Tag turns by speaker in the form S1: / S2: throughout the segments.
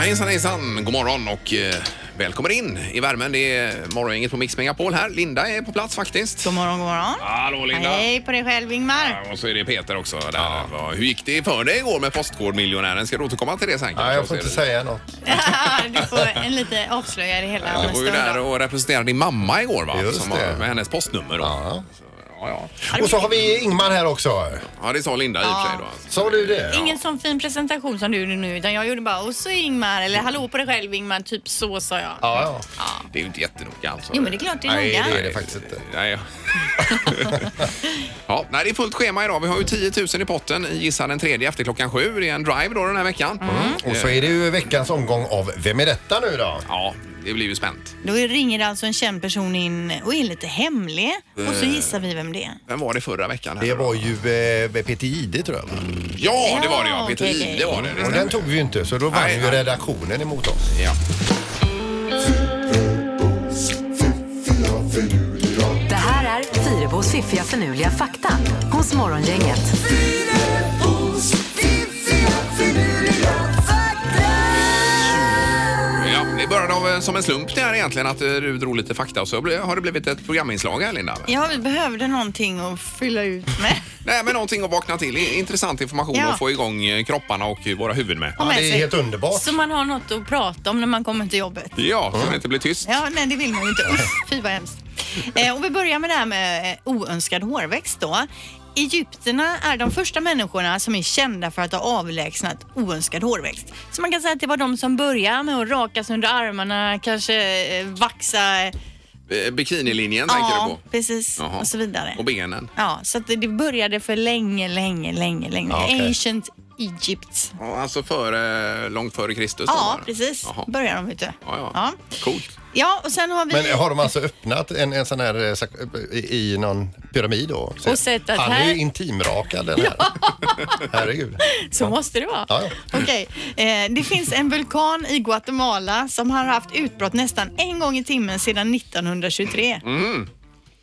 S1: Hejsan hejsan, god morgon och eh, välkommen in i värmen. Det är morgongänget på Mix Megapol här. Linda är på plats faktiskt.
S2: God morgon, god morgon.
S1: Hallå Linda!
S2: Hej på dig själv Ingmar.
S1: Ja, Och så är det Peter också. Där. Vad- Hur gick det för dig igår med Postkodmiljonären? Ska du återkomma till det sen? kanske?
S3: Nej, jag får inte säga något.
S2: du får en lite avslöja det hela
S1: Du
S2: nästa
S1: var ju där
S2: dag.
S1: och representerade din mamma igår va?
S3: Just
S1: Som
S3: det.
S1: har- Med hennes postnummer då.
S3: Ja.
S1: Så, Ja, ja.
S3: Och så har vi Ingmar här också.
S1: ja det sa Linda i och för sig då.
S3: Sa du det?
S2: Ingen sån fin presentation som du gjorde nu utan jag gjorde bara och så Ingmar eller hallå på dig själv Ingmar, typ så sa jag.
S3: Ja, ja.
S1: Det är ju inte jättenoga alltså.
S2: Jo men det är klart det är
S3: Nej,
S2: noga.
S3: det är det faktiskt inte.
S1: Nej, ja. ja, nej, det är fullt schema idag. Vi har ju 10 000 i potten i Gissa den tredje efter klockan sju. Det är en drive då den här veckan.
S3: Mm.
S1: Eh,
S3: Och så är det ju veckans omgång av Vem är detta nu då?
S1: Ja, det blir ju spänt.
S2: Då ringer alltså en känd person in och är lite hemlig och
S3: Eh.
S2: så gissar vi vem det är.
S1: Vem var det förra veckan? Här
S3: Det
S1: då?
S3: var ju eh, Peter Jihde tror jag. va?
S1: Ja, det var det ja.
S2: Ja,
S1: Peter
S2: okej,
S1: Jihde
S2: okej.
S1: var det. det
S3: Och
S1: stämmer.
S3: den tog vi ju inte så då vann
S1: Nej,
S3: ju
S1: nej.
S3: redaktionen emot oss.
S1: Ja.
S4: Det här är Fyrabos fiffiga förnuliga fakta hos Morgongänget.
S1: ja, det började av, eh, som en slump det här egentligen att eh, du drog lite fakta och så ble- har det blivit ett programinslag här Linda.
S2: Ja, vi behövde någonting att fylla ut med.
S1: Nej, men någonting att vakna till. I- Intressant information
S2: Ja.
S1: att få igång eh, kropparna och eh, våra huvuden med.
S2: Ha med
S3: det är
S2: sig.
S3: helt underbart.
S2: Så man har något att prata om när man kommer till jobbet.
S1: Ja, så det inte blir tyst.
S2: Ja, nej det vill man ju inte. Usch, Fy vad hemskt. Eh, och vi börjar med det här med eh, oönskad hårväxt då. Egypterna är de första människorna som är kända för att ha avlägsnat oönskad hårväxt. Så man kan säga att det var de som började med att raka sig under armarna, kanske eh, vaxa. eh,
S1: Eh, Bikinilinjen tänker du
S2: Ja,
S1: på.
S2: precis.
S1: Jaha.
S2: Och så vidare.
S1: Och benen.
S2: Ja, så att det- det började för länge, länge, länge, länge.
S3: Ja, okej.
S2: Ancient Egypt.
S1: Ja, Alltså före, långt före Kristus? då,
S2: Ja,
S1: var det.
S2: precis.
S1: Jaha.
S2: Började de, vet du.
S1: Ja, ja.
S2: Ja.
S1: Coolt.
S2: Ja, och sen har vi...
S3: Men har de alltså öppnat en, en sån här eh, sak- i i någon pyramid då? Så-
S2: Och sett att
S3: Han är
S2: här-
S3: ju intimrakad den här. Herregud.
S2: Så måste det vara.
S3: Ja, ja.
S2: Okej. Eh, det finns en vulkan i Guatemala som har haft utbrott nästan en gång i timmen sedan 1923.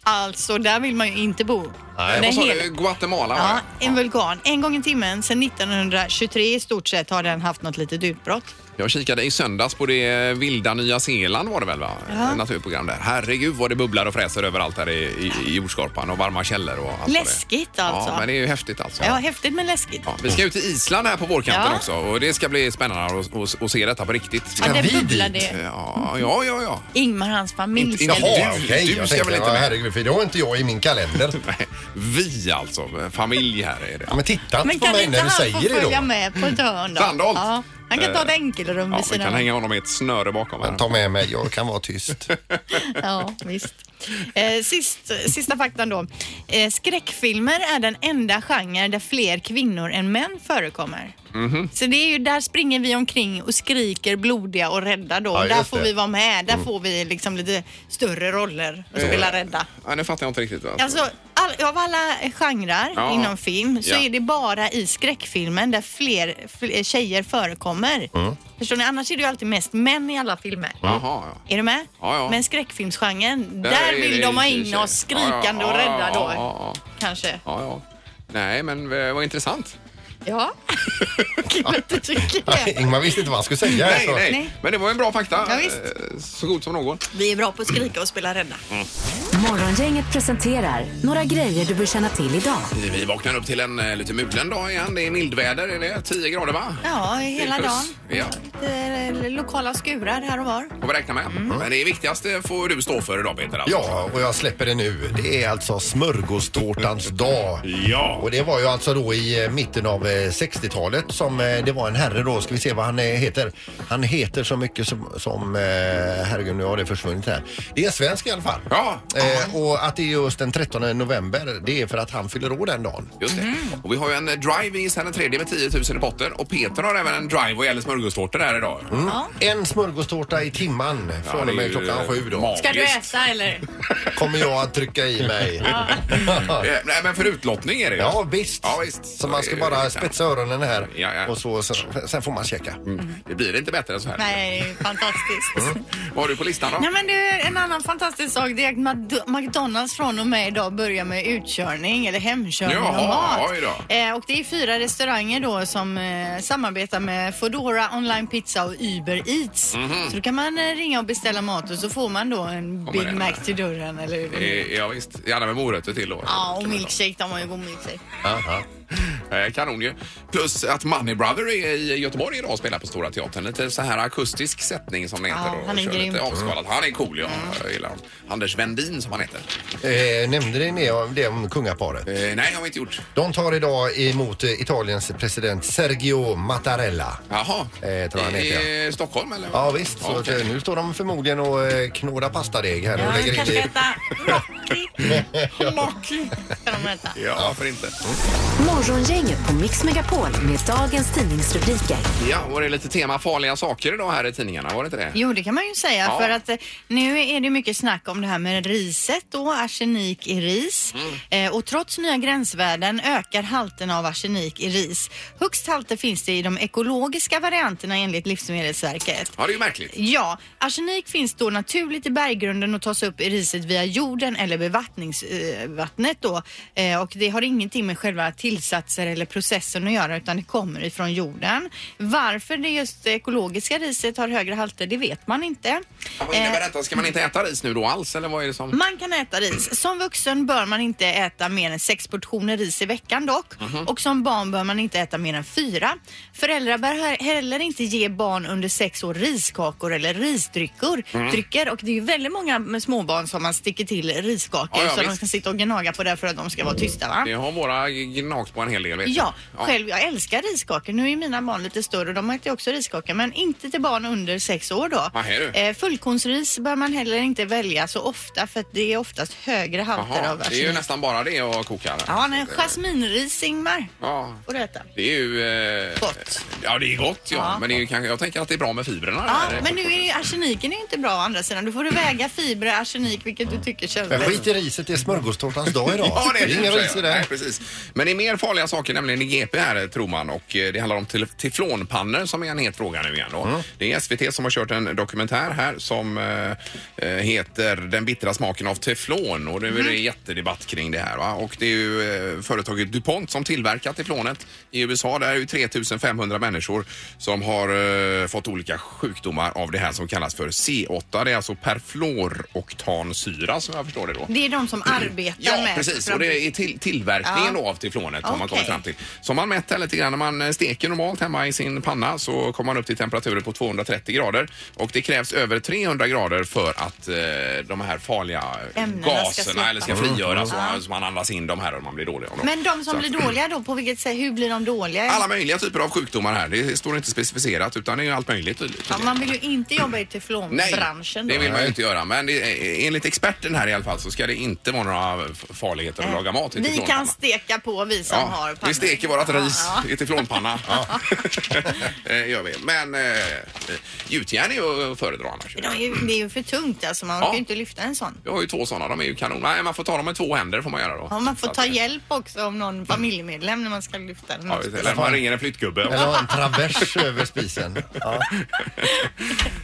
S2: Alltså, där vill man ju inte bo.
S3: Nej,
S2: Den
S1: Vad sa
S2: hela-
S1: du? Guatemala? var
S2: Ja,
S1: det?
S2: en vulkan. En gång i timmen sedan 1923 i stort sett har den haft något litet utbrott.
S1: Jag kikade i söndags på det vilda Nya Zeeland var det väl va? Ett Naturprogram där. Herregud vad det bubblar och fräser överallt här i, i, i jordskorpan och varma källor och allt vad det är.
S2: Läskigt alltså.
S1: Ja, men det är ju häftigt alltså.
S2: Ja, häftigt men läskigt.
S1: Ja, vi ska ut till Island här på vårkanten
S2: Ja.
S1: också och det ska bli spännande att, att, att se detta på riktigt.
S2: Ja,
S3: Kan
S2: det
S3: vi dit?
S2: bubblade.
S1: Ja, ja, ja. ja.
S2: Ingmar och hans familj
S1: Inte-
S2: ska
S1: inte-
S2: dit.
S3: Jaha,
S1: du-
S3: okej.
S1: du
S3: Jag
S1: ska väl
S3: tänkte,
S1: inte
S3: ja,
S1: med?
S3: herregud, för det har inte jag i min kalender.
S1: Nej, Vi alltså, familj här är det.
S3: Ja, Men titta
S2: Men
S3: inte på
S2: kan
S3: mig
S2: inte
S3: när du
S2: han
S3: säger
S2: få
S3: det då.
S2: följa med på ett hörn då?
S1: Sandholt.
S2: Ja, han kan ta ett enkelrum
S1: Ja,
S2: vid
S1: vi
S2: sidan
S1: kan
S2: av.
S1: hänga honom i ett snöre bakom här.
S3: Ta med mig, jag kan vara tyst.
S2: Ja, visst. Eh, sist, sista faktan då. Eh, skräckfilmer är den enda genre där fler kvinnor än män förekommer.
S1: Mhm.
S2: Så det är ju där springer vi omkring och skriker blodiga och rädda då.
S3: Ja,
S2: där
S3: just
S2: får
S3: det.
S2: vi vara med. Där får vi liksom lite större roller och spela rädda.
S1: Mm. Ja, nu fattar jag inte riktigt. Alltså.
S2: Alltså, all, av alla genrer
S1: Ja.
S2: inom film så
S1: Ja.
S2: är det bara i skräckfilmen där fler, fler tjejer förekommer. Förstår ni? Annars är det ju alltid mest män i alla filmer.
S1: Jaha, ja.
S2: Är du med?
S1: Ja, ja.
S2: Men skräckfilmsgenren, där,
S1: Där är
S2: vill
S1: det
S2: de ha
S1: ju
S2: in
S1: tjejer.
S2: oss skrikande
S1: Ja, ja,
S2: och rädda då.
S1: ja, ja, ja.
S2: Kanske.
S1: Ja, ja. Nej, men eh, vad intressant.
S2: Ja. Kul att du tycker
S3: Nej,
S2: det.
S3: Ingmar visste inte vad han skulle säga.
S1: Nej,
S3: så-
S1: nej.
S2: Nej.
S1: Men det var ju en bra fakta.
S2: Ja, visst.
S1: Eh, Så god som någon.
S2: Vi är bra på att skrika och spela rädda.
S4: Morgongänget presenterar några grejer du bör känna till idag.
S1: Vi vaknar upp till en eh, lite mulen dag igen. Det är mildväder, är det 10 grader va?
S2: Ja, hela
S1: Plus.
S2: dagen.
S1: Ja,
S2: Lite lokala skurar här och var.
S1: får vi räkna med.
S2: Mm.
S1: Men det viktigaste får du stå för idag Peter. Alltså.
S3: Ja, och jag släpper det nu. Det är alltså smörgåstårtans dag.
S1: Ja.
S3: Och det var ju alltså då i eh, mitten av eh, 60-talet som eh, det var en herre då, ska vi se vad han eh, heter. Han heter så mycket som, som eh, herregud nu har det försvunnit här. Det är en svensk i alla fall.
S1: Ja.
S3: Eh, och att det är just den 13 november, det är för att han fyller år den dagen.
S1: Just det.
S2: Mm.
S1: Och vi har ju en eh, drive i sen den tredje med 10 000 i potten. Och Peter har även en drive vad gäller smörgåstårtor här idag.
S2: Ja.
S3: En smörgåstårta i timman
S1: Mm. Ja,
S3: från
S1: det är
S3: och med
S1: ju
S3: klockan sju då.
S1: magiskt.
S2: Ska du äta eller?
S3: Kommer jag att trycka i mig.
S1: Eh, Nej, men för utlottning är det ju.
S3: Ja visst.
S1: Ja, visst.
S3: Så man ska bara spetsa öronen här
S1: Ja, ja.
S3: och så, sen, sen får man checka.
S1: Mm. Det blir inte bättre än så här.
S2: Nej, fantastiskt.
S1: Mm. Vad har du på listan då?
S2: Nej men du, en annan fantastisk sak det är att mad- McDo- McDonalds från och med idag börjar med utkörning eller hemkörning
S1: Jaha,
S2: av mat.
S1: oj då.
S2: Eh, och det är fyra restauranger då som eh, samarbetar med Foodora, Online Pizza och Uber Eats.
S1: Mhm.
S2: Så då kan man eh, ringa och beställa mat och så får man då en
S1: Kommer
S2: Big
S1: det.
S2: Mac till dörren eller hur det nu är.
S1: Eh, Ja, visst. Gärna med morötter till då.
S2: Ja, och milkshake. De har ju god milkshake.
S3: Aha.
S1: Eh, Kanon ju. Plus att Money Brother är i Göteborg idag och spelar på Stora Teatern. Lite så här akustisk sättning som det heter.
S2: Ja,
S1: och
S2: han är
S1: kör
S2: grym. Mm.
S1: Lite avskalat. Han är cool, ja. Jag gillar honom. Anders Wendin som han heter.
S3: Eh, nämnde ni det om, det om kungaparet?
S1: Eh, nej, har vi inte gjort.
S3: De tar idag emot eh, Italiens president Sergio Mattarella.
S1: Jaha.
S3: Eh, tror jag han heter,
S1: I Stockholm eller?
S3: Ja visst, så att,
S1: okej.
S3: eh, nu står de förmodligen och eh, knådar pastadeg här och
S2: Ja,
S3: lägger in
S2: kanske
S3: i...
S2: äta Rocky. Rocky kan de äta.
S1: Ja, varför inte?
S4: Morgongänget på Mix Megapol med dagens tidningsrubriker.
S1: Ja, och det är lite tema farliga saker idag här i tidningarna, var det inte det?
S2: Jo, det kan man ju säga.
S1: Ja.
S2: För att eh, nu är det mycket snack om det här med riset då, arsenik i ris.
S1: Mm.
S2: Eh, och trots nya gränsvärden ökar halten av arsenik i ris. Högst halter finns det i de ekologiska varianterna enligt Livsmedelsverket.
S1: Ja, det är ju märkligt.
S2: Ja, arsenik finns då naturligt i berggrunden och tas upp i riset via jorden eller bevattningsvattnet då. Eh, och det har ingenting med själva tillsatser eller processen att göra utan det kommer ifrån jorden. Varför det just det ekologiska riset har högre halter, det vet man inte.
S1: Ja, Vad innebär
S2: Eh, Mm.
S1: detta? Ska man inte äta ris nu då alls eller vad är det som...
S2: man kan äta ris. Som vuxen bör man inte äta mer än sex portioner ris i veckan dock.
S1: Mhm.
S2: Och som barn bör man inte äta mer än fyra. Föräldrar bör he- heller inte ge barn under sex år riskakor eller risdrycker.
S1: Mm.
S2: Drycker. Och det är ju väldigt många med småbarn som man sticker till riskakor
S1: Ja, ja,
S2: så de
S1: visst.
S2: ska sitta och gnaga på det för att de ska vara tysta va?
S1: Det har våra gnagt på en hel del, vet
S2: Ja,
S1: jag.
S2: själv jag älskar riskakor. Nu är mina barn lite större och de äter ju också riskakor men inte till barn under sex år då.
S1: Ah, här är du.
S2: Eh, fullkornsris bör man heller inte välja så ofta för att det är oftast högre halter
S1: Jaha,
S2: av
S1: det är ju
S2: arsenik.
S1: nästan bara det jag kokar.
S2: Ja, nej, jasminris Ingmar
S1: Ja,
S2: får du äta.
S1: det är ju... Eh...
S2: Gott.
S1: Ja, det är gott ja.
S2: Ja.
S1: Men det är ju, kanske- jag tänker att det är bra med fibrerna.
S2: Ja,
S1: där.
S2: men nu är ju, arseniken är ju inte bra å andra sidan. Då får du väga fibrer, arsenik, vilket du tycker känns
S3: Men
S2: bäst.
S3: skit i riset, det är smörgåstårtans dag idag.
S1: Ja, det är det för
S3: ingen
S1: sig.
S3: ris i
S1: Nej,
S3: det.
S1: precis. Men det är mer farliga saker, nämligen i GP här tror man och eh, det handlar om tel- teflonpannor som är en het fråga nu igen då.
S3: Mm.
S1: Det är SVT som har kört en dokumentär här som eh, eh, heter Den bittra smaken av teflon och nu är
S3: Mm.
S1: det jättedebatt kring det här va? Och det är ju eh, företaget DuPont som tillverkar teflonet i USA. Där är ju 3500 människor som har eh, fått olika sjukdomar av det här som kallas för C8. Det är alltså perfluoroktansyra som jag förstår det då.
S2: Det är de som arbetar
S1: Ja,
S2: med
S1: precis.
S2: för
S1: Och
S2: att-
S1: det är till, tillverkningen
S2: Ja.
S1: då av teflonet har man
S2: Okej.
S1: kommit fram till. Som man mätt här lite grann. När man eh, steker normalt hemma i sin panna så kommer man upp till temperaturer på 230 grader. Och det krävs över 300 grader för att eh, de här farliga eh,
S2: Ämnena ska
S1: gaserna
S2: släppa.
S1: eller ska frigöras
S2: Mm.
S1: så, så man andas in de här och man blir dålig av dem.
S2: Men de
S1: Så
S2: som
S1: att-
S2: blir dåliga då, på vilket sätt, hur blir de dåliga?
S1: Alla möjliga typer av sjukdomar här. Det står inte specificerat utan det är ju allt möjligt tydligen.
S2: ja, man vill ju inte jobba i teflonbranschen då.
S1: det vill man ju inte göra. Men det, eh, enligt experten här i alla fall så ska det inte vara några farligheter att laga mat i
S2: Vi kan
S1: teflonpanna.
S2: steka på vi som har pannor.
S1: Vi steker vårat ris
S2: Ja, ja.
S1: i teflonpanna. Ja. Eh, gör vi. Men eh, gjutjärn är ju att föredra annars.
S2: De är ju, det är ju för tungt alltså, man
S1: Ja.
S2: orkar ju inte lyfta en sån.
S1: Jag har ju två sådana, de är ju kanon. Nej, man får ta dem med två händer får man göra då.
S2: Ja, man får
S1: Så att-
S2: ta hjälp också av någon familjemedlem när man ska lyfta den.
S1: Mm. Ja,
S2: också.
S1: eller man ringer en flyttgubbe.
S3: Eller ha en travers över spisen. Ja.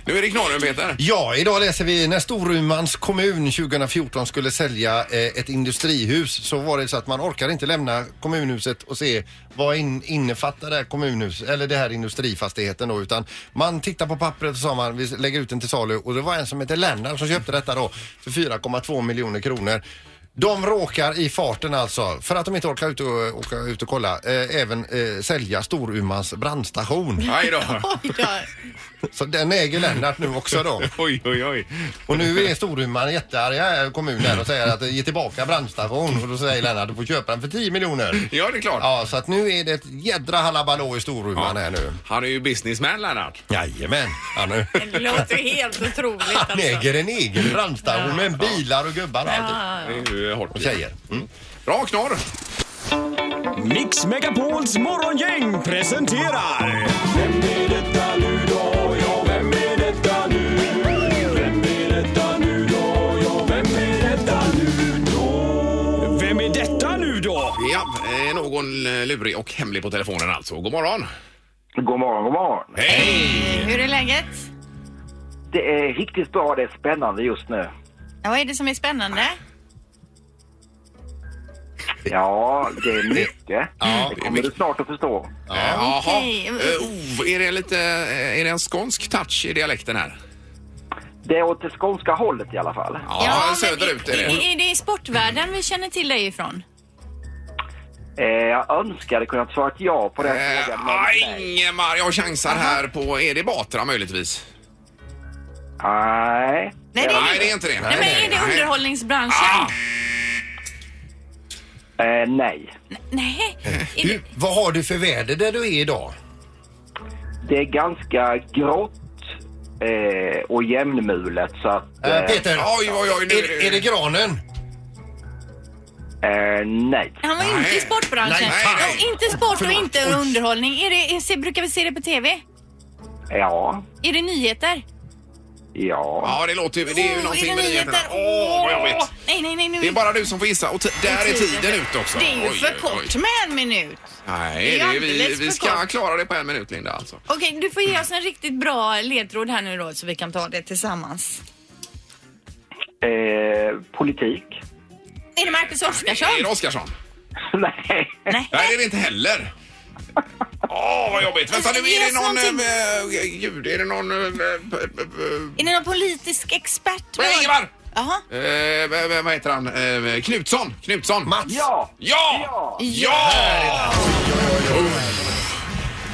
S1: Nu är det knorren Peter.
S3: Ja, idag läser vi när Storumans kommun 2014 skulle sälja eh, ett industrihus så var det så att man orkade inte lämna kommunhuset och se vad in, innefattar det här kommunhus eller det här industrifastigheten då utan man tittar på pappret och sa man vi lägger ut den till salu och det var en som hette Lennart som köpte detta då för 4,2 miljoner kronor. De råkar i farten alltså, för att de inte orkar ut och, åka ut och kolla, eh, även eh, sälja Storumans brandstation.
S1: Aj då.
S2: Oj då.
S3: Så den äger Lennart nu också då.
S1: Oj, oj, oj.
S3: Och nu är Storuman jättearga i kommunen och säger att ge tillbaka brandstation och då säger Lennart du får köpa den för 10 miljoner.
S1: Ja, det är klart.
S3: Ja, så att nu är det ett jädra halabalå i Storuman här nu.
S1: Han är ju businessman Lennart.
S3: Jajamän. Ja, nu.
S2: Det låter helt otroligt
S3: Han
S2: alltså.
S3: äger en egen brandstation med bilar och gubbar och allt.
S1: Det är ju hårt.
S3: Och tjejer. Mm.
S1: Bra knorr!
S5: Mix Megapols morgongäng presenterar... Vem är detta nu då? Ja, vem är detta nu? Vem är detta nu då? Ja, vem är detta nu då? Vem är detta nu då?
S1: Ja, eh, någon eh, lurig och hemlig på telefonen alltså. God morgon!
S6: God morgon, god morgon.
S1: Hej!
S2: Hur är läget?
S6: Det är riktigt bra, det är spännande just nu.
S2: Ja, vad är det som är spännande?
S6: Ja, det är mycket.
S1: Ja,
S6: det
S1: det är
S6: kommer du
S1: mycket.
S6: snart att förstå.
S1: Eh, Jaha.
S2: okej.
S1: Eh, oh, är, det lite, eh, är det en skånsk touch i dialekten här?
S6: Det är åt det skånska hållet i alla fall.
S1: Ja, söderut är det.
S2: Är, är det i sportvärlden vi känner till dig ifrån?
S6: Eh, jag önskade kunna svara ett ja på den
S1: Eh,
S6: frågan. men
S1: ah,
S6: nej.
S1: Ingemar, jag chansar här på... Är det Batra möjligtvis?
S6: Nej.
S2: Nej, det är
S1: Nej, Ah! det är inte det.
S2: Nej, men är det underhållningsbranschen?
S6: Eh, nej.
S2: Nej. Är det,
S3: Du, vad har du för väder där du är idag?
S6: Det är ganska grått eh, och jämnmulet så att...
S3: Eh, Peter,
S1: Oj, oj, oj. Nu,
S3: är, är det granen?
S6: Eh, nej.
S2: han var ju
S1: Nej.
S2: inte i sportbranschen.
S3: Nej,
S1: nej, nej.
S2: Och inte sport och
S3: Förlåt.
S2: inte underhållning. Är det, är, se- brukar vi se det på TV?
S6: Ja.
S2: Är det nyheter?
S6: Ja.
S1: Ja, det låter ju... Det är ju
S2: Oh,
S1: någonting
S2: är
S1: med
S2: det
S1: nyheterna.
S2: nyheter?
S1: Åh, vad jobbigt.
S2: Nej, nej, nej. Nu.
S1: Det är bara du som får gissa. Och t- där är tiden ute också.
S2: Det är ju
S1: Oj,
S2: för
S1: oj, oj.
S2: kort med en minut.
S1: Nej,
S2: Det är
S1: det är vi,
S2: alldeles
S1: vi
S2: för
S1: ska
S2: kort.
S1: klara det på en minut, Linda. Alltså.
S2: Okej, du får ge oss en riktigt bra ledtråd här nu då så vi kan ta det tillsammans.
S6: Eh, politik.
S2: Är det Marcus
S1: Är det
S2: Oskarsson?
S1: Oskarsson?
S6: nej.
S1: Nej, det är det inte heller. Åh, vad jobbigt. Vänta nu, är
S2: Ge
S1: det
S2: oss
S1: någon
S2: någonting.
S1: eh, ljud? Är det någon... eh, p- p- p-
S2: Är det någon politisk expert?
S1: Nej, Ingemar!
S2: Jaha.
S1: Eh, v- v- vad heter han? Eh, Knutsson! Knutsson!
S3: Mats?
S6: Ja.
S1: Ja! Ja!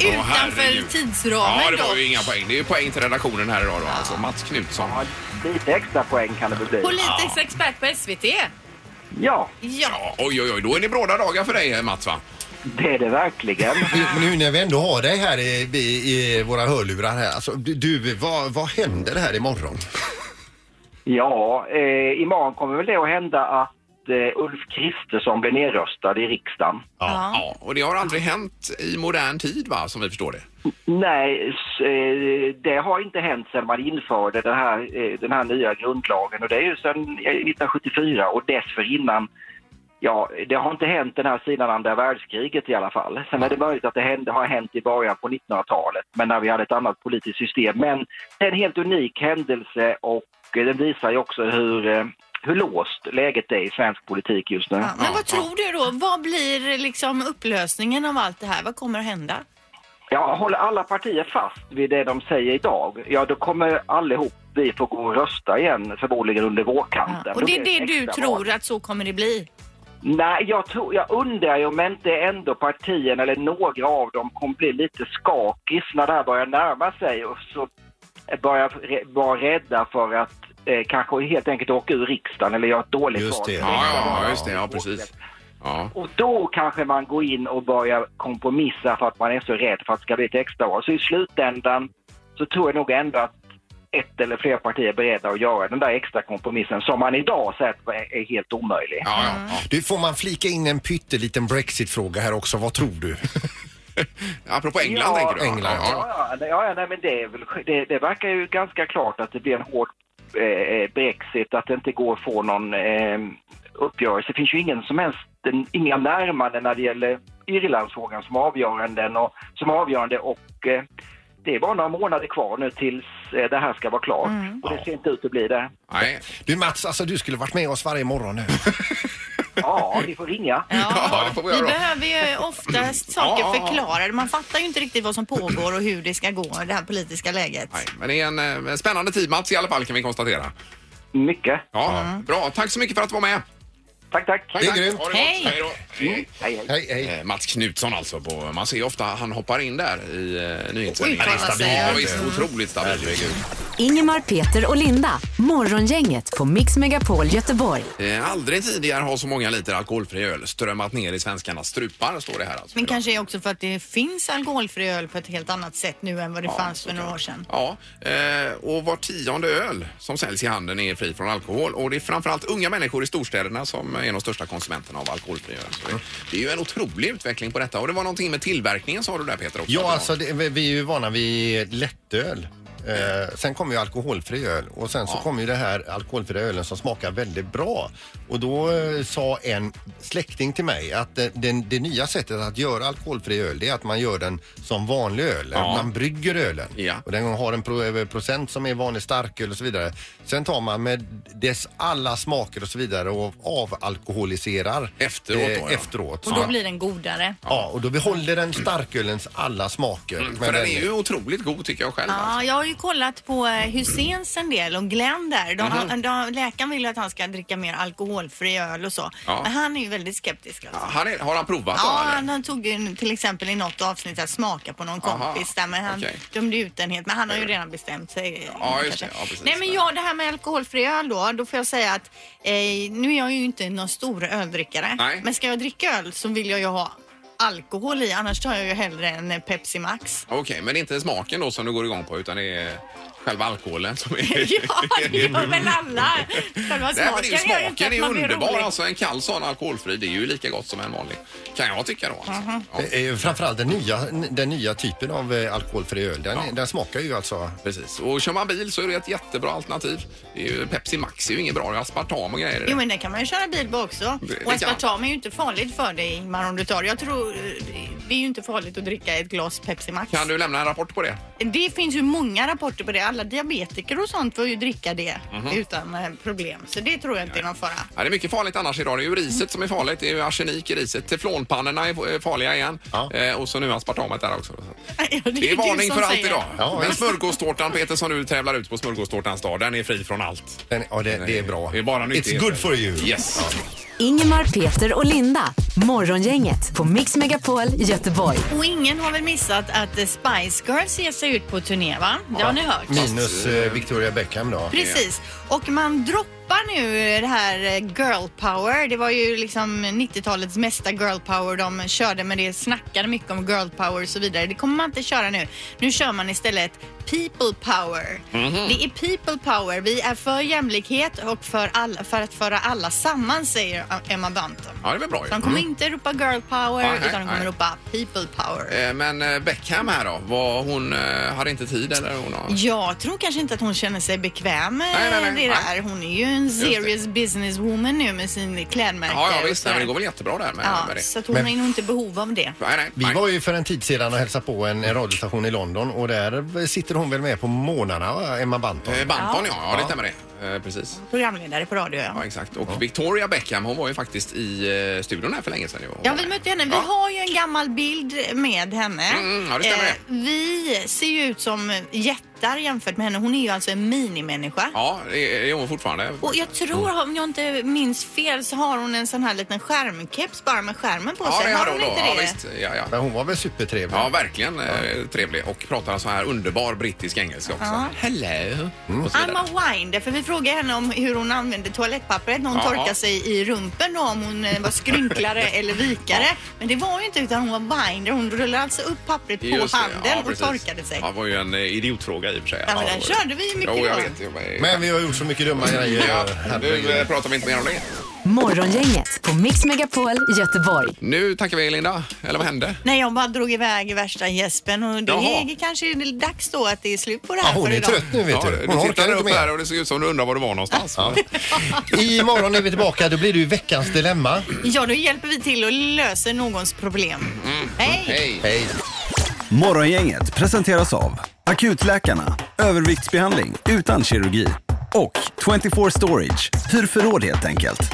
S2: Utanför
S1: herregud. Ja,
S2: tidsramen
S1: det var
S2: då.
S1: ju inga poäng. Det är ju poäng till redaktionen här idag då, alltså. Mats Knutsson.
S6: Ja, Lite extra poäng kan det väl bli.
S2: Politisk expert på SVT.
S6: Ja,
S2: Ja.
S1: Ja, oj, oj, oj. Då är det bråda dagar för dig, eh, Mats, va?
S6: det är det verkligen.
S3: Men nu när vi ändå har dig här i, i, i våra hörlurar här. Alltså, du, du vad, vad händer här imorgon?
S6: Ja, eh, imorgon kommer väl det att hända att eh, Ulf Kristersson blir nedröstad i riksdagen.
S2: Ja.
S1: Ja, och det har aldrig hänt i modern tid, va, som vi förstår det?
S6: Nej, s- eh, det har inte hänt sedan man införde den här, eh, den här nya grundlagen och det är ju sedan eh, 1974 och dessförinnan Ja, det har inte hänt den här sidan andra världskriget i alla fall. Sen är det möjligt att det hände, har hänt i början på 1900-talet, men när vi hade ett annat politiskt system. Men det är en helt unik händelse och eh, den visar ju också hur, eh, hur låst läget är i svensk politik just nu.
S2: Ja, Men vad tror du då? Vad blir liksom upplösningen av allt det här? Vad kommer att hända?
S6: Ja, håller alla partier fast vid det de säger idag, ja då kommer allihop vi få gå och rösta igen förmodligen under vårkanten.
S2: Ja.
S6: Då
S2: Och det är
S6: blir
S2: det du
S6: extra val.
S2: tror att så kommer det bli?
S6: Nej, jag, tror, jag undrar ju om inte ändå partierna eller några av dem kommer bli lite skakis när det här börjar närma sig och så börjar re- vara rädda för att eh, kanske helt enkelt åka ur riksdagen eller göra ett dåligt
S3: Just det.
S6: val.
S1: Ja, ja, ja, just det. Ja, precis. Ja.
S6: Och då kanske man går in och börjar kompromissa för att man är så rädd för att det ska bli ett extraval. Så i slutändan så tror jag nog ändå att ett eller flera partier är beredda att göra den där extra kompromissen som man idag säger att är är helt omöjlig.
S1: Ja,
S2: Mm.
S1: ja, ja.
S3: Du, får man flika in en pytteliten Brexit-fråga här också? Vad tror du?
S1: Apropå England,
S6: Ja,
S1: tänker du?
S3: England.
S1: Ja, ja.
S6: Ja, ja, ja, nej, men det, är väl, det, det verkar ju ganska klart att det blir en hård eh, Brexit, att det inte går att få någon eh, uppgörelse. Det finns ju ingen som helst, den, inga närmanden när det gäller Irlandsfrågan som avgörande och, som avgörande och eh, det är bara några månader kvar nu tills eh, det här ska vara klart. Och det ser inte ut att bli det.
S1: Nej.
S3: Du Mats, alltså du skulle varit med oss varje morgon nu.
S6: Ja, vi får ringa.
S1: Ja, det får vi
S2: vi
S1: göra då.
S2: behöver ju oftast saker
S1: Ja, ja, ja.
S2: förklarade. Man fattar ju inte riktigt vad som pågår och hur det ska gå i det här politiska läget.
S1: Nej, men det är en eh, spännande tid Mats i alla fall kan vi konstatera.
S6: Mycket.
S1: Ja, bra. Tack så mycket för att du var med.
S6: Tack, tack.
S1: Tack,
S3: Det är
S1: tack.
S3: grymt.
S1: Ha gott.
S2: Hej.
S1: Hej då. Hej.
S6: Hej, hej.
S3: Hej, hej.
S1: Eh, Mats Knutsson alltså. På, man ser ju ofta han hoppar in där i eh, nyhetssändningarna.
S2: Uttalar sig.
S1: Ja, visst, otroligt stabil.
S4: Ingemar, Peter och Linda. Morgongänget på Mix Megapol Göteborg.
S1: Eh, aldrig tidigare har så många liter alkoholfri öl strömmat ner i svenskarnas strupar, står det här alltså.
S2: Men kanske är också för att det finns alkoholfri öl på ett helt annat sätt nu än vad det fanns för några år sedan.
S1: Ja, eh, och var tionde öl som säljs i handeln är fri från alkohol. Och det är framförallt unga människor i storstäderna som är de största konsumenterna av alkoholfri öl. Så det, det är ju en otrolig utveckling på
S3: alltså,
S1: detta. Och det var någonting med tillverkningen sa du där Peter också.
S3: Ja, alltså det, vi vi är ju vana vid lättöl. Eh, Eh, sen kommer ju alkoholfri öl och sen så kommer ju det här alkoholfria ölen som smakar väldigt bra. Och då eh, sa en släkting till mig att eh, den, det nya sättet att göra alkoholfri öl det är att man gör den som vanlig öl.
S1: Ja.
S3: Man brygger ölen
S1: Ja.
S3: och den har en pro, eh, procent som är vanlig starköl och så vidare. Sen tar man med dess alla smaker och så vidare och avalkoholiserar eh,
S1: Efteråt då, ja.
S3: efteråt. Så
S2: Och då
S3: man-
S2: blir den godare.
S3: Ja, och då behåller den starkölens alla smaker.
S1: Mm, För den är
S3: den-
S1: ju otroligt god tycker jag själv.
S2: Ja,
S1: alltså.
S2: jag har ju kollat på eh, Hyséns en del och Glenn där. De,
S1: Mhm.
S2: de, läkaren vill ju att han ska dricka mer alkoholfri öl och så.
S1: Ja.
S2: Men han är ju väldigt skeptisk. Alltså.
S1: Ja, Han är, har han provat
S2: Ja,
S1: då?
S2: han,
S1: eller?
S2: han tog ju till exempel i något avsnitt att smaka på någon
S1: Aha,
S2: kompis där men han
S1: okej.
S2: dömde ut den helt. Men han har ju redan bestämt sig. eh,
S1: Ja, just
S2: kanske.
S1: det. Ja, precis.
S2: Nej men jag, det här med alkoholfri öl då, då får jag säga att eh, nu är jag ju inte någon stor öldrickare.
S1: Nej.
S2: Men ska jag dricka öl så vill jag ju ha alkohol i annars tar jag ju hellre en eh, Pepsi Max.
S1: Okej, men det är inte smaken då som du går igång på utan det är själva alkoholen som är...
S2: ja, det gör väl alla. Själva
S1: Nej, men det är ju
S2: smaken gör ju inte
S1: smaken
S2: att
S1: är ju
S2: man blir
S1: underbar.
S2: rolig.
S1: Alltså en kall sån alkoholfri, det är ju lika gott som en vanlig. Kan jag tycka då. Alltså.
S2: Mhm.
S1: Ja.
S3: Eh, eh, Framförallt den nya, den nya typen av eh, alkoholfri öl. Den,
S1: Ja.
S3: den smakar ju alltså...
S1: Precis. Och kör man bil så är det ett jättebra alternativ. Det är ju Pepsi Max är ju inget bra. Det är aspartam och grejer. i det.
S2: Jo men det kan man ju köra bil på också.
S1: Det- det
S2: Och
S1: kan
S2: aspartam är ju inte farligt för dig Ingmar om du tar det. Jag tror eh, det är ju inte farligt att dricka ett glas Pepsi Max.
S1: Kan du lämna en rapport på det?
S2: Det finns ju många rapporter på det. Alla diabetiker och sånt får ju dricka det
S1: Mhm.
S2: utan eh, problem. Så det tror jag inte är någon fara.
S1: Ja, det är mycket farligt annars idag. Det är ju
S2: Mm.
S1: riset som är farligt. Det är ju arsenik i riset. Teflonpannorna är eh, farliga igen.
S3: Ja.
S1: Eh, och så nu aspartamet där också.
S2: Ja,
S1: Det är
S2: du
S1: varning
S2: som
S1: för allt
S2: säger.
S1: idag.
S3: Ja,
S1: Men
S3: visst.
S1: smörgåstårtan Peter som du tävlar ut på smörgåstårtans dag, den är fri från allt.
S3: Den, ja, det, det är bra.
S1: Det är bara
S3: It's
S1: nyttigheter.
S3: good for you.
S1: Yes.
S4: Ingemar, Peter och Linda. Morgongänget på Mix Megapol Göteborg.
S2: Och ingen har väl missat att eh, Spice Girls ger sig ut på turné va? Det har ni hört.
S3: Minus eh, Victoria Beckham då.
S2: Precis. Och man droppar nu det här eh, girl power. Det var ju liksom 90-talets mesta girl power de körde med det, snackade mycket om girl power och så vidare. Det kommer man inte köra nu. Nu kör man istället people power.
S1: Mhm.
S2: Det är people power. Vi är för jämlikhet och för, alla, för att föra alla samman, säger Emma Bunton.
S1: Ja, det är väl bra ju.
S2: Så de kommer inte ropa girl power,
S1: Mm. Nej,
S2: utan de kommer
S1: nej.
S2: ropa people power.
S1: Eh, Men eh, Beckham här då, var hon, eh, hade inte tid eller? Hon har...
S2: Jag tror kanske inte att hon känner sig bekväm med
S1: Nej, nej, nej.
S2: det där.
S1: Nej.
S2: Hon är ju en
S1: det.
S2: serious businesswoman nu med sin klädmärke.
S1: Ja, ja
S2: och
S1: visst.
S2: så
S1: Nej,
S2: där.
S1: men det går väl jättebra där med,
S2: ja,
S1: med det.
S2: Så att hon
S3: Men-
S2: har nog inte behov av det.
S1: Nej, nej,
S3: Vi
S1: nej.
S3: var ju för en tid sedan och hälsade på en en radiostation i London och där sitter hon väl med på morgnarna, va, Emma Banton.
S1: Eh, Banton ja, ja, det stämmer det. Eh, Precis.
S2: Programledare på radio. Ja.
S1: Ja, exakt. Och Victoria Beckham, hon var ju faktiskt i eh, studion här för länge sedan. ju. Hon
S2: Ja,
S1: var
S2: vi
S1: med.
S2: mötte henne. Vi
S1: Ja.
S2: har ju en gammal bild med henne. Eh,
S1: Mm, ja, det stämmer det.
S2: vi ser ju ut som jättar jämfört med henne. Hon är ju alltså en minimänniska.
S1: Ja, Mm. det är det är hon fortfarande.
S2: Och jag tror, om jag inte minns fel, så har hon en sån här liten skärmkeps bara med skärmen på sig. har hon
S1: då.
S2: inte
S1: Ja,
S2: det?
S1: visst. Ja, ja.
S3: Men hon var väl supertrevlig.
S1: Ja, verkligen eh, trevlig och pratar så här underbar brittisk engelska också. Hello!
S3: Mm.
S1: Och så vidare.
S2: Alma Winder, för vi frågade henne om hur hon använde toalettpappret när hon
S1: Ja.
S2: torkade sig i rumpen då, om hon eh, var skrynklare eller vikare. Men det var ju inte utan hon var Winder. Hon rullade alltså upp pappret på
S1: Just det,
S2: handen
S1: ja,
S2: och
S1: precis.
S2: torkade sig.
S1: Ja, Det var ju en eh, idiotfråga i och för sig.
S2: Ja, men den
S1: det var-
S2: körde vi ju mycket
S1: Jo, jag
S2: då.
S1: vet. ju,
S3: Men vi har gjort så mycket dumma grejer.
S1: Ja, nu eh,
S3: Herregud.
S1: pratar vi inte mer om det.
S4: Morgongänget på Mix Megapol Göteborg.
S1: Nu tackar vi Linda. Eller vad hände?
S2: Nej, jag bara drog iväg värsta gäspen och det
S1: Jaha.
S2: är kanske är dags då att det är slut på det
S3: Ja,
S2: här
S3: hon
S2: för
S3: är
S2: idag.
S3: trött nu vet
S1: Ja,
S3: du.
S1: du
S3: Hon
S1: tittade
S3: orkar inte
S1: upp här
S3: mer.
S1: och det såg ut som du undrar var du var någonstans.
S3: Imorgon är vi tillbaka, då blir det ju veckans dilemma.
S2: Ja, då hjälper vi till och löser någons problem.
S1: Mm,
S2: Hej!
S1: Hej!
S3: Hej.
S7: Morgongänget presenteras av Akutläkarna, överviktsbehandling utan kirurgi och 24 Storage, hur förråd helt enkelt.